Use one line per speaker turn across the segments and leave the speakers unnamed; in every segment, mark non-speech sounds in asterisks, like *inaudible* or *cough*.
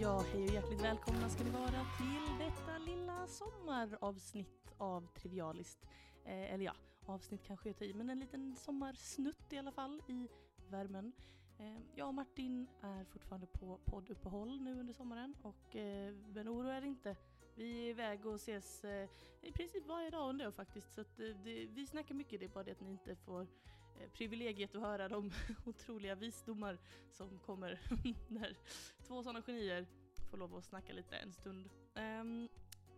Ja, hej och hjärtligt välkomna ska ni vara till detta lilla sommaravsnitt av Trivialist. Eh, eller ja, avsnitt kanske jag tar i, men en liten sommarsnutt i alla fall i värmen. Eh, jag och Martin är fortfarande på podduppehåll nu under sommaren och eh, men oroa er inte. Vi är iväg och ses eh, i princip varje dag ändå faktiskt. Så att, eh, det, vi snackar mycket, det är bara det att ni inte får eh, privilegiet att höra de *laughs* otroliga visdomar som kommer *laughs* när två sådana genier får lov att snacka lite en stund. Ehm,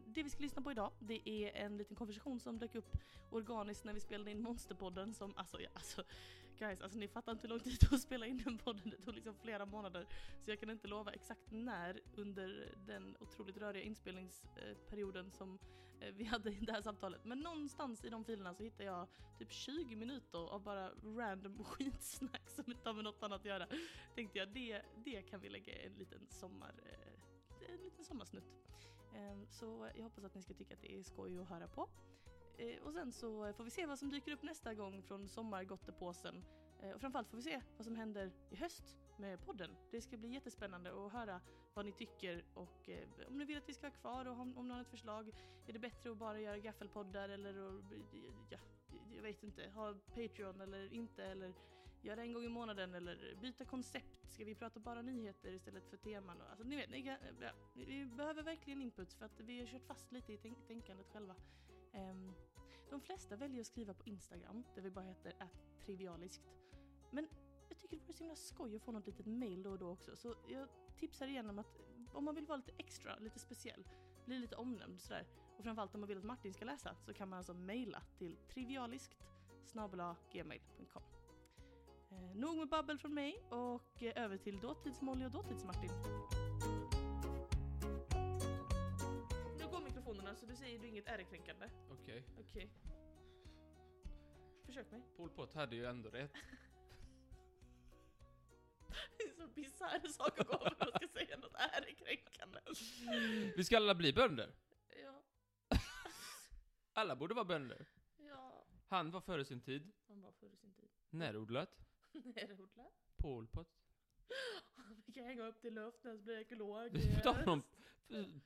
det vi ska lyssna på idag, det är en liten konversation som dök upp organiskt när vi spelade in Monsterpodden som, alltså, ja, alltså guys, alltså ni fattar inte hur lång tid det tog att spela in den podden, det tog liksom flera månader. Så jag kan inte lova exakt när under den otroligt röriga inspelningsperioden som eh, vi hade i det här samtalet. Men någonstans i de filerna så hittade jag typ 20 minuter av bara random *laughs* skitsnack som inte har med något annat att göra tänkte jag det, det kan vi lägga en liten sommar eh, en liten sommarsnutt. Eh, Så jag hoppas att ni ska tycka att det är skoj att höra på. Eh, Och sen så får vi se vad som dyker upp nästa gång från sommargottepåsen. Eh, Och framförallt får vi se vad som händer i höst med podden. Det ska bli jättespännande att höra vad ni tycker och eh, om ni vill att vi ska vara kvar och om, om ni har ett förslag. Är det bättre att bara göra gaffelpoddar eller att, ja, jag vet inte, ha Patreon eller inte eller göra en gång i månaden eller byta koncept. Ska vi prata bara nyheter istället för teman? Och, alltså ni vet, ni kan, ja, vi behöver verkligen input för att vi har kört fast lite i tänk- tänkandet själva. Ehm, de flesta väljer att skriva på Instagram där vi bara heter att trivialiskt. Men jag tycker det vore så himla skoj att få något litet mail då och då också så jag tipsar igen om att om man vill vara lite extra, lite speciell, bli lite omnämnd sådär och framförallt om man vill att Martin ska läsa så kan man alltså mejla till trivialiskt gmail.com Eh, nog med babbel från mig och eh, över till dåtidsmolly och dåtidsmartin. Nu går mikrofonerna så du säger du inget ärekränkande.
Okej.
Okej. Försök mig.
Pol Pot hade ju ändå rätt.
*laughs* Det är så bisarr sak att gå för att man ska säga något ärekränkande.
Vi ska alla bli bönder.
Ja,
Alla borde vara bönder.
ja.
Han var före sin tid.
Han var före sin tid. *laughs*
Närodlat.
Närodlad.
Pol Pot.
Vi kan hänga upp till luften så blir det ekolog.
På tal om... pot-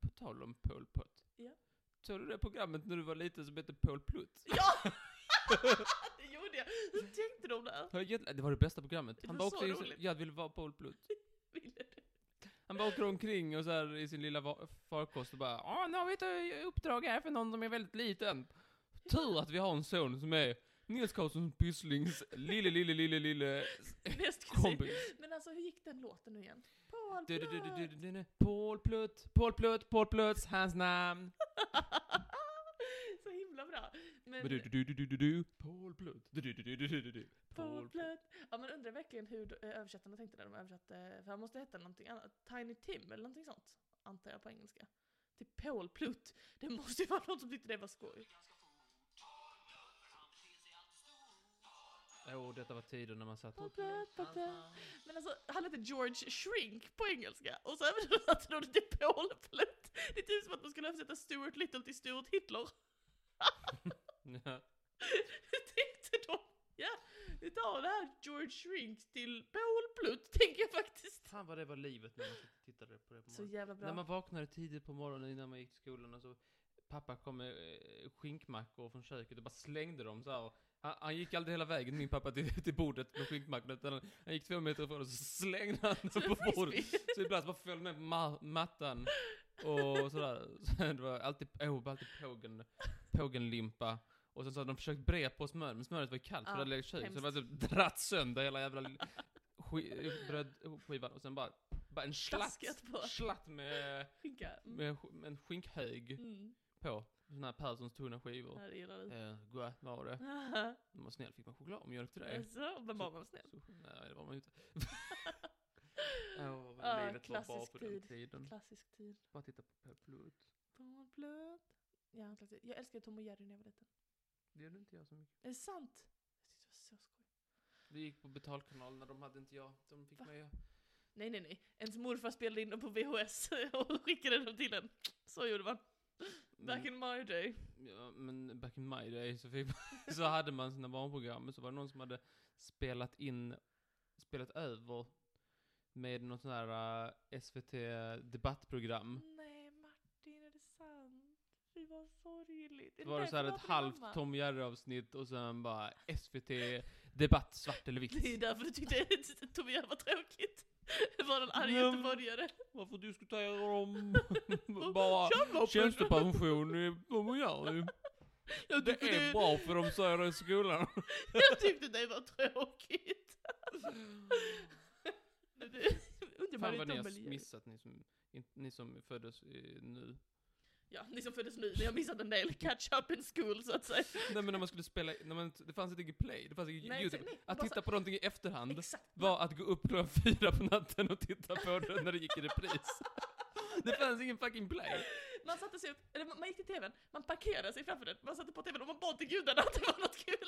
På tal om Pol Pot.
Ja.
Såg du det programmet när du var liten som hette Pol Plutt?
Ja! *laughs* det gjorde jag. Hur tänkte du om det? här?
Har jag gett- Det var det bästa programmet.
Det
Han
var
var också
så
i sin-
roligt.
Jag vill vara Pol Plutt.
Ville du?
Han bara åker omkring och så här i sin lilla va- farkost och bara ah nu har vi ett eh, uppdrag här för någon som är väldigt liten. Tur att vi har en son som är Nils Karlsson Pysslings lille, lille,
*laughs*
lille, lille
Näst kusin.
kompis.
Men alltså hur gick den låten nu igen? Paul
Du, du, du, du, du,
Blöt.
du, du, du. Paul Plutt, Paul Plutt, Paul Plutts, hans namn.
*laughs* Så himla bra. Men
Du, du, du, du, du, du, du. Paul Plutt. Du, du, du, du, du, du, du, du.
Paul
Paul Plutt.
Blöt. Ja men undrar verkligen hur eh, översättarna tänkte när de översatte, för han måste heta någonting annat. Tiny Tim eller någonting sånt. Antar jag på engelska. Till Paul Plutt. Det måste ju vara någon som tyckte det var skoj.
Åh, detta var tiden när man satt
Paul
upp.
Plutt, Paul Plutt. Men alltså han hette George Shrink på engelska och så översatte de det till Paul Plutt. Det är typ som att man skulle översätta Stuart Little till Stuart Hitler.
Ja.
*laughs* Hur tänkte de? Ja, vi tar det här George Shrink till Paul Plutt, tänker jag faktiskt.
Fan vad det var livet när man satt och tittade på det på
Så
morgonen.
jävla
När man
bra.
vaknade tidigt på morgonen innan man gick till skolan och så Pappa kom med eh, skinkmackor från köket och bara slängde dem så här. Han, han gick aldrig hela vägen min pappa till, till bordet med skinkmackorna utan han, han gick två meter ifrån och så slängde han
Så
dem
*laughs*
på bordet. *laughs*
frisbee.
Så ibland så bara föll med på ma- mattan och sådär. *laughs* Så det var alltid, oh, alltid pågen, pågenlimpa. Och sen så hade de försökt bre på smör, men smöret var ju kallt
Ja,
för det hade legat i köket. Så det var
hemskt.
typ dratt sönder hela jävla li- sk- brödskivan och sen bara, bara en slatt,
Taskat på.
slatt med,
Skinka. Mm.
med, sk- med en skinkhög
Mm.
på. Såna här Perssons tunna skivor.
Ja, Mm. det gillar vi.
Eh, gott var det. Om man var snäll fick man choklad och mjölk till det.
*laughs* Alltså, men var man snäll.
Så, nej, det var man ju
*laughs*
inte. Åh,
Ah,
vad livet var bra
klassisk
på den
tid.
tiden.
Klassisk tid.
Bara titta på Per Plutt.
Paul Plutt. Ja, en klassisk. Jag älskade Tom och Jerry när jag var liten.
Det gjorde inte jag så mycket.
Är det sant? Jag tyckte det var så skoj.
Vi gick på betalkanal när de hade inte jag. De fick
Va?
mig jag.
Nej, nej, nej. Ens morfar spelade in dem på VHS *laughs* och skickade dem till en. Så gjorde man. Back in my day.
ja, men back in my day så, fick man, *laughs* så hade man sina barnprogram. Men så var det någon som hade spelat in, spelat över med något sånt här eh, SVT
Mm,
debattprogram.
Nej Martin, är det sant? Fy vad sorgligt. Är
Det var det
därför
så här
du har
ett
fått
halvt
mamma?
Tom Jerry-avsnitt och sen bara SVT debatt svart eller vitt.
Det är därför du tyckte att Tom Jerv var tråkigt. Det var en arg
Nej, men-
göteborgare.
Varför diskuterar
*laughs*
de bara
Kärnvapen!
tjänstepension? i- De gör ju.
Jag
Det
tyckte
är
det-
bra för de säger det i skolan.
Jag tyckte det var tråkigt. Men *laughs* det- Undrar man
Fan vad
inte
ni
om
har
Berlin.
missat ni som, in- ni som föddes eh, nu.
Ja, ni som föddes nu, ni har missat en del catch up in school så att säga.
*laughs* Nej men när man skulle spela, när man, det fanns inte play, det fanns inte
Nej,
youtube.
nej,
Att
bara
titta på någonting i efterhand
Exakt.
var att gå upp klockan fyra på natten och titta på det när det gick
*laughs*
i repris. Det fanns ingen fucking play.
Man satte sig upp, eller man man gick till tvn, man parkerade sig framför den, man satte på tvn och man bad till gudarna *laughs* att det var något kul.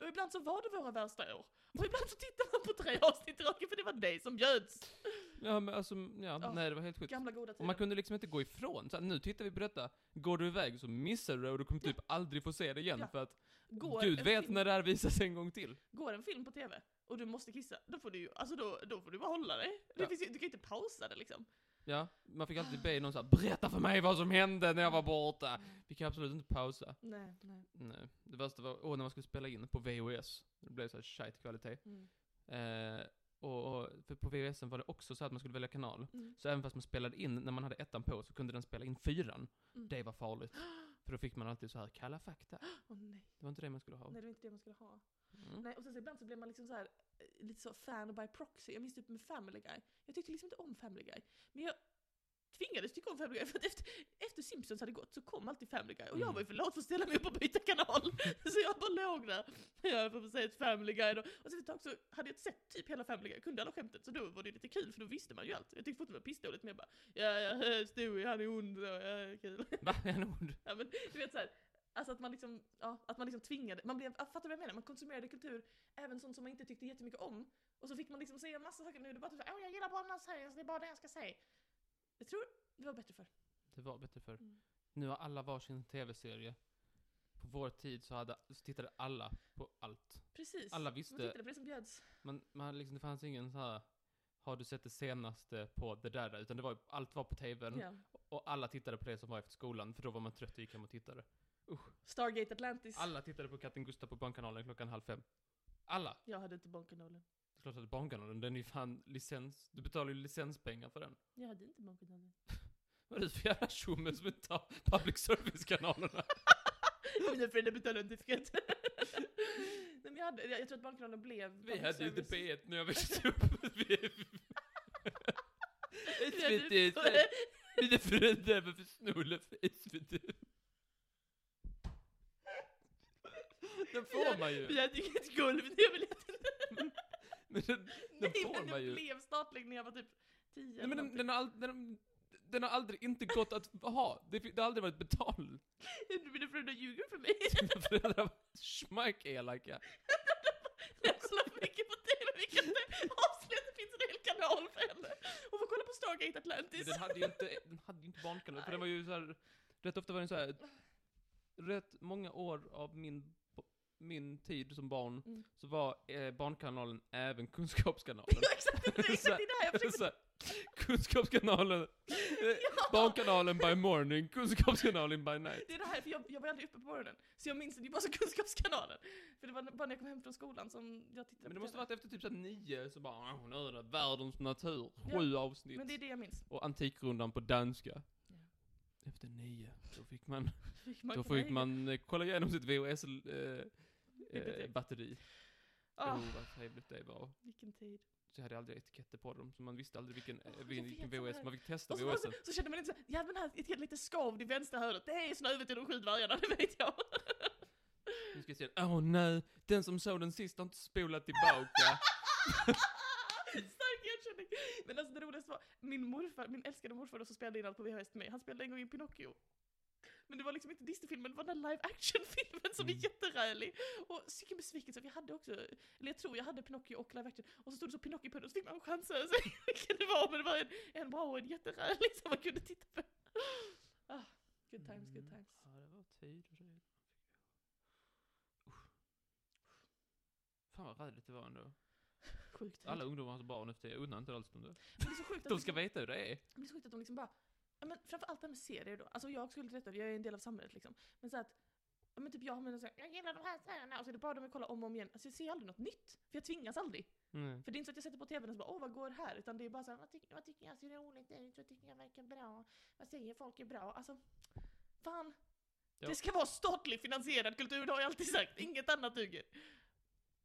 Och ibland så var det våra värsta år. Och ibland så tittade man på tre avsnitt i raken för det var det som bjöds.
Ja men alltså, ja,
Ja,
nej det var helt sjukt.
Gamla goda
Och man
tider.
kunde liksom inte gå ifrån. Så här, nu tittar vi på detta, går du iväg så missar du det och du kommer typ aldrig få se det igen
Ja.
för att
Går
Gud
en
vet
film-
när det här visas en gång till.
Går en film på tv och du måste kissa, då får du ju, alltså då, då får du bara hålla dig. Det
Ja.
finns ju, du kan ju inte pausa det liksom.
Ja, man fick alltid be någon såhär, berätta för mig vad som hände när jag var borta. Vi kan absolut inte pausa.
Nej, nej.
Nej. Det värsta var, åh, när man skulle spela in på VHS. Det blev såhär shit kvalitet.
Mm.
Eh, och, och för på VHSen var det också så att man skulle välja kanal.
Mm.
Så även fast man spelade in, när man hade ettan på, så kunde den spela in fyran.
Mm.
Det var farligt. För då fick man alltid så här kalla fakta.
Åh nej,
Det var inte det man skulle ha.
nej det var inte det man skulle ha.
Mm.
Nej, och sen så ibland så blev man liksom så här, eh, lite så fan by proxy. Jag minns typ med Family Guy. Jag tyckte liksom inte om Family Guy. Men jag tvingades tycka om Family Guy *laughs* för att efter, efter Simpsons hade gått så kom alltid Family Guy. Och jag
Mm.
var ju för lat för att ställa mig upp och byta kanal. *laughs* så jag bara låg där. *laughs* Jag får säga ett Family Guy då. Och sen ett tag så hade jag sett typ hela Family Guy, kunde alla skämten. Så då var det lite kul för då visste man ju allt. Jag tyckte fortfarande det var pissdåligt men jag bara ja, ja, *laughs* Stewie han är ond och ja, kul.
Va? *laughs* En ord?
Ja, men, du vet så här, alltså att man liksom, ja, att man liksom tvingade, man blev, ja, fattar du vad jag menar? Man konsumerade kultur, även sånt som man inte tyckte jättemycket om. Och så fick man liksom säga en massa saker, nu är det bara typ såhär, åh jag gillar bara den här serien, så det är bara det jag ska säga. Jag tror det var bättre för.
Det var bättre förr.
Mm.
Nu har alla varsin tv-serie. På vår tid så, hade, så tittade alla på allt.
Precis.
Alla
Man
visste.
tittade på det som bjöds.
Man, man hade liksom, det fanns ingen så här. Har du sett det senaste på det där? Utan det var, ju- allt var på tvn.
Ja.
Och alla tittade på det som var efter skolan. För då var man trött och gick hem och tittade.
Stargate Atlantis.
Alla tittade på katten Gustav på Barnkanalen klockan halv fem. Alla!
Jag hade inte Bonkanalen.
Det är klart att Barnkanalen, den är ju fan licens... Du betalar ju licenspengar för den.
Jag hade inte
*laughs*
Bonkanalen.
Vad är det för jävla tjomme som inte har public service-kanalerna?
Mina föräldrar betalade inte skatt. *laughs* Nej men jag, hade, jag, jag tror att Bonkanalen blev...
Vi hade ju inte
public service.
P1 när jag växte upp. Vi...
Vi hade
SVT är mina föräldrar var för snåla för SVT. Den får man
*laughs*
ju.
Vi hade ju inget golv, det är väl
Men den, Den
Nej
får
men
man
den
ju.
blev statlig när jag var typ 10
nej, men den,
någonting. *laughs*
den, har all, den, den har aldrig inte gått att ha. Det, fi- det har aldrig varit betalt. *laughs*
Mina föräldrar ljuger för mig. *laughs*
Mina föräldrar var schmack-elaka.
Jag kollar för mycket på TV, vilket avslut det finns en hel kanal för henne. Hon får kolla på Stargate
Men
Atlantis. *laughs*
Den hade ju inte, den hade ju inte barnkanal, för den var ju så här, rätt ofta var den så här, rätt många år av min, min tid som barn,
Mm.
så var eh, barnkanalen
*laughs*
även kunskapskanalen.
Exakt, det är exakt det där jag
så
försökte...
här, kunskapskanalen, eh,
Ja!
barnkanalen by morning, *laughs* kunskapskanalen by night.
Det är det här, för jag, jag var aldrig uppe på morgonen. Så jag minns det ju bara som Kunskapskanalen. För det var bara när jag kom hem från skolan som jag tittade
Men
på
det måste
TV.
varit efter typ såhär nio, så bara "Åh, nu är det världens natur, sju avsnitt.
Men det är det jag minns.
Och Antikrundan på danska.
Ja.
Efter nio, då fick man
Fick *laughs* man
Då
komma
fick
hem?
man eh, kolla igenom sitt VHS-batteri. Eh, eh,
Bibliotek.
batteri.
Ah,
Oh, vad trevligt det var.
vilken tid.
Så jag hade aldrig etiketter på dem, så man visste aldrig vilken, eh,
jag
vilken
vet sån
VHS.
här.
Man fick testa
Och så, var det
VHSen.
så, så kände man inte så här, ja men här är ett lite skavd i vänstra hörnet. Det är Snövit och de sju dvärgarna, *laughs* det vet jag.
Nu ska jag se den. Åh nej, den som såg den sist har inte
*laughs*
spolat tillbaka.
Stark igenkänning! Men alltså det roligaste var, min morfar, min älskade morfar då som spelade in allt på VHS till mig, han spelade en gång in Pinocchio. Men det var liksom inte Disney-filmen, det var den live action-filmen som
Mm.
är jätterälig. Och vilken besvikelse, vi hade också, eller jag tror jag hade Pinocchio och live action, och så stod det så Pinocchio på den och så fick man chansa att se vilken det var, men det var en, en bra och en jätterälig som man kunde titta på. Ah, good times, good
Mm.
times.
Ja, det var tider. Fan vad räddigt det var ändå.
Sjukt.
Alla ungdomar har så bra nu för tiden. jag undrar inte alls om det.
Men det är så sjukt att
De ska
liksom-
veta hur det är.
Men det är så sjukt att de liksom bara, ja, men framförallt det här med serier då. Alltså jag skulle till detta, jag är en del av samhället liksom. Men så att, ja, men typ jag har mina såhär, jag gillar de här serierna, och så är det bara de jag kollar om och om igen. Alltså jag ser aldrig något nytt, för jag tvingas aldrig.
Mm.
För det är inte så att jag sätter på tvn och så bara, åh vad går här? Utan det är bara såhär, vad, tycker- vad tycker jag ser roligt ut? Vad tycker jag verkar bra? Vad säger folk är bra? Alltså, fan.
Ja.
Det ska vara statligt finansierad kultur, det har jag alltid sagt. Inget annat duger.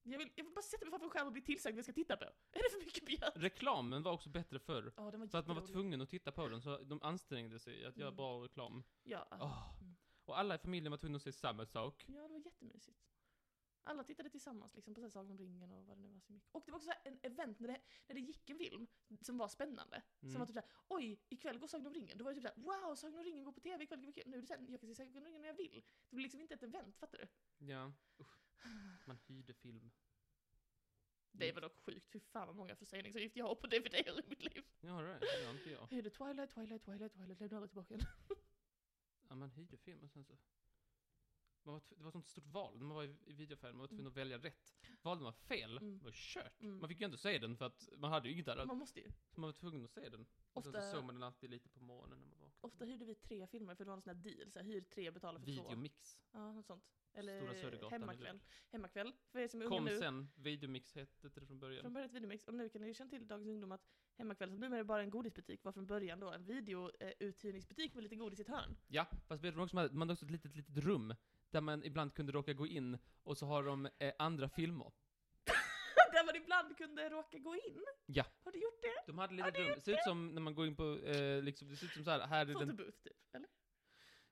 Jag vill, jag vill bara sätta mig framför en skärm och bli tillsagd vad jag ska titta på. Är det för mycket begärt?
Reklamen var också bättre förr.
Ja, den var
Så att man var
jätterolig.
tvungen att titta på den, så de ansträngde sig att göra
Mm.
bra reklam.
Ja,
Åh.
mm.
Och alla i familjen var tvungna att se samma sak.
Ja, det var jättemysigt. Alla tittade tillsammans liksom, på så här Sagan om ringen och vad det nu var. Så mycket. Och det var också så här en event när det, när det gick en film som var spännande. Som
Mm.
var typ såhär, oj, ikväll går Sagan om ringen. Då var det typ såhär, wow, Sagan om ringen går på tv ikväll, gud vad kul. Nu är det såhär, jag kan se Sagan om ringen när jag vill. Det blir liksom inte ett event, fattar du?
Mm. Ja. Usch.
*sighs*
Man hyrde film.
Det
Mm.
var dock sjukt, fy fan vad många försäljningsavgifter jag har på DVD i mitt liv.
Ja, det är det. inte jag.
Jag hyrde Twilight, Twilight, Twilight, Twilight, lämnade aldrig *laughs* tillbaka den.
Ja, man hyrde film och sen så... Man var tv- det var ett sånt stort val när man var i i videoaffären, man var tvungen att välja rätt. Valde man fel,
Mm.
det var kört.
Mm.
Man fick ju ändå se den för att man hade ju inget annat.
Man måste ju.
Så man var tvungen att se den. Och sen
Ofta-
så såg man den alltid lite på morgonen när man vaknade.
Ofta hyrde vi tre filmer för det var en sån här deal, såhär, hyr tre, betala för två.
Videomix.
Ja, något sånt.
Stora
Eller
Södergatan i
hemmakväll. Hemmakväll, för er som är unga
Kom
nu.
sen, Videomix hette det från början.
Från början ett videomix, och nu kan ni ju känna till Dagens Ungdom att Hemmakväll, som numera är bara en godisbutik, var från början då en videouthyrningsbutik med lite godis i ett
*laughs*
hörn.
Ja, fast vet du också, man hade- man hade också ett litet, litet rum där man ibland kunde råka gå in och så har de eh, andra filmer.
Där man ibland kunde råka gå in.
Ja.
Har du gjort det?
De hade ett
Ja,
litet
det är
rum, det ser ut som när man går in på, eh, liksom, det ser ut som så här, här är den
Photo booth typ, eller?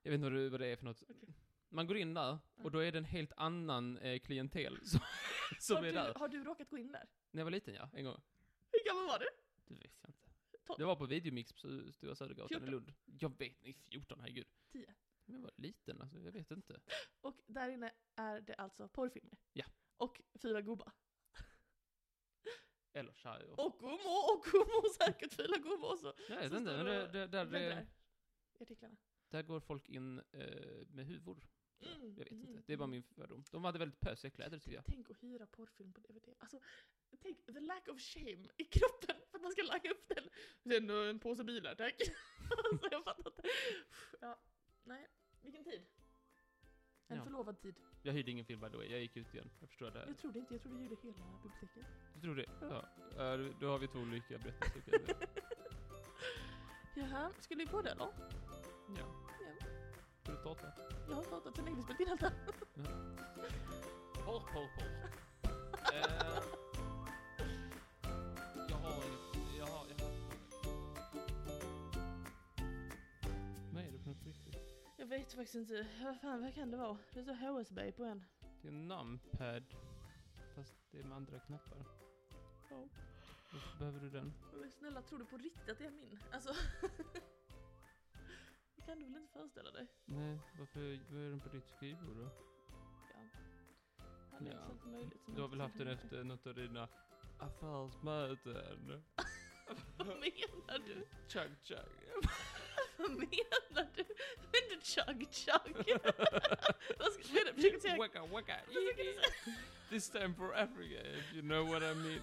Jag vet inte vad det, vad det är för något. Man går in där, och då är det en helt annan eh, klientel *laughs* som,
har,
som är
du,
där.
har du råkat gå in där?
När jag var liten ja, en gång.
Hur gammal var du?
Det vet jag inte.
Tolv?
Det var på Videomix på Sö- Stora Södergatan
14.
i Lund. Jag vet inte, 14 herregud.
Tio.
Men jag var liten alltså, jag vet inte.
Och där inne är det alltså porrfilmer.
Ja.
Och fyra gubbar.
Eller så här, jag-
Och gummor, och gummor säkert, fyra gummor också.
Jag vet
så
inte,
står
men
det
det,
och
det, där,
Bläddrar
det,
i artiklarna.
där går folk in eh, med huvor. tror jag.
Mm,
Jag vet inte,
mm,
det är bara
mm.
min fördom. De hade väldigt pösiga kläder tycker jag.
Tänk att hyra porrfilm på DVD. Alltså, tänk the lack of shame i kroppen för att man ska langa upp den. Sen eh, en påse bilar, tack. *laughs* alltså, jag fattar inte. Ja, nej. Vilken tid. En
Ja. Äh.
förlovad tid.
Jag hyrde ingen film by the way, jag gick ut igen. Jag förstår det.
Jag trodde inte, jag trodde jag gjorde hela biblioteket.
Du tror det?
Ja.
Ja. Ja, då- Då har vi två olika berättelser. tycker jag.
Jaha, skulle vi på det eller?
*laughs* Ja.
Ja.
Ska du starta?
Jag har pratat så länge, vi spelat in allt det här.
Porr, porr, porr. Eh, jag har inget... Jag har... Jag har... Vad är det för något på riktigt?
Jag vet faktiskt inte, vad fan vad kan det vara? Det står HSB på en.
Det är en numpad. Fast det är med andra knappar.
Ja.
Varför behöver du den?
Men snälla, tror du på riktigt att det är min? Alltså. *laughs* det kan du väl inte föreställa dig?
Nej, varför vad är den på ditt skrivbord då?
Han är
Ja.
sånt möjligt som
Du har
inte
väl haft den
kan-
efter något av dina affärsmöten?
*laughs* Vad menar du?
Chug chug.
Vad menar du? Men du chug chug? Vad ska du mena? Försöker säga...
Waka waka.
Vad ska du säga?
This time for Africa, if you know what I mean.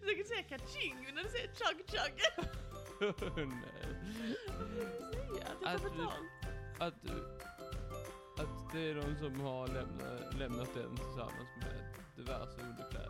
*laughs*
Försöker säga kaching när du säger chug chug?
Nej.
Vad ska du säga? Att jag
Att
får
vi-
betalt?
Att du... Att det är de som har lämnat, lämnat den tillsammans med diverse underkläder.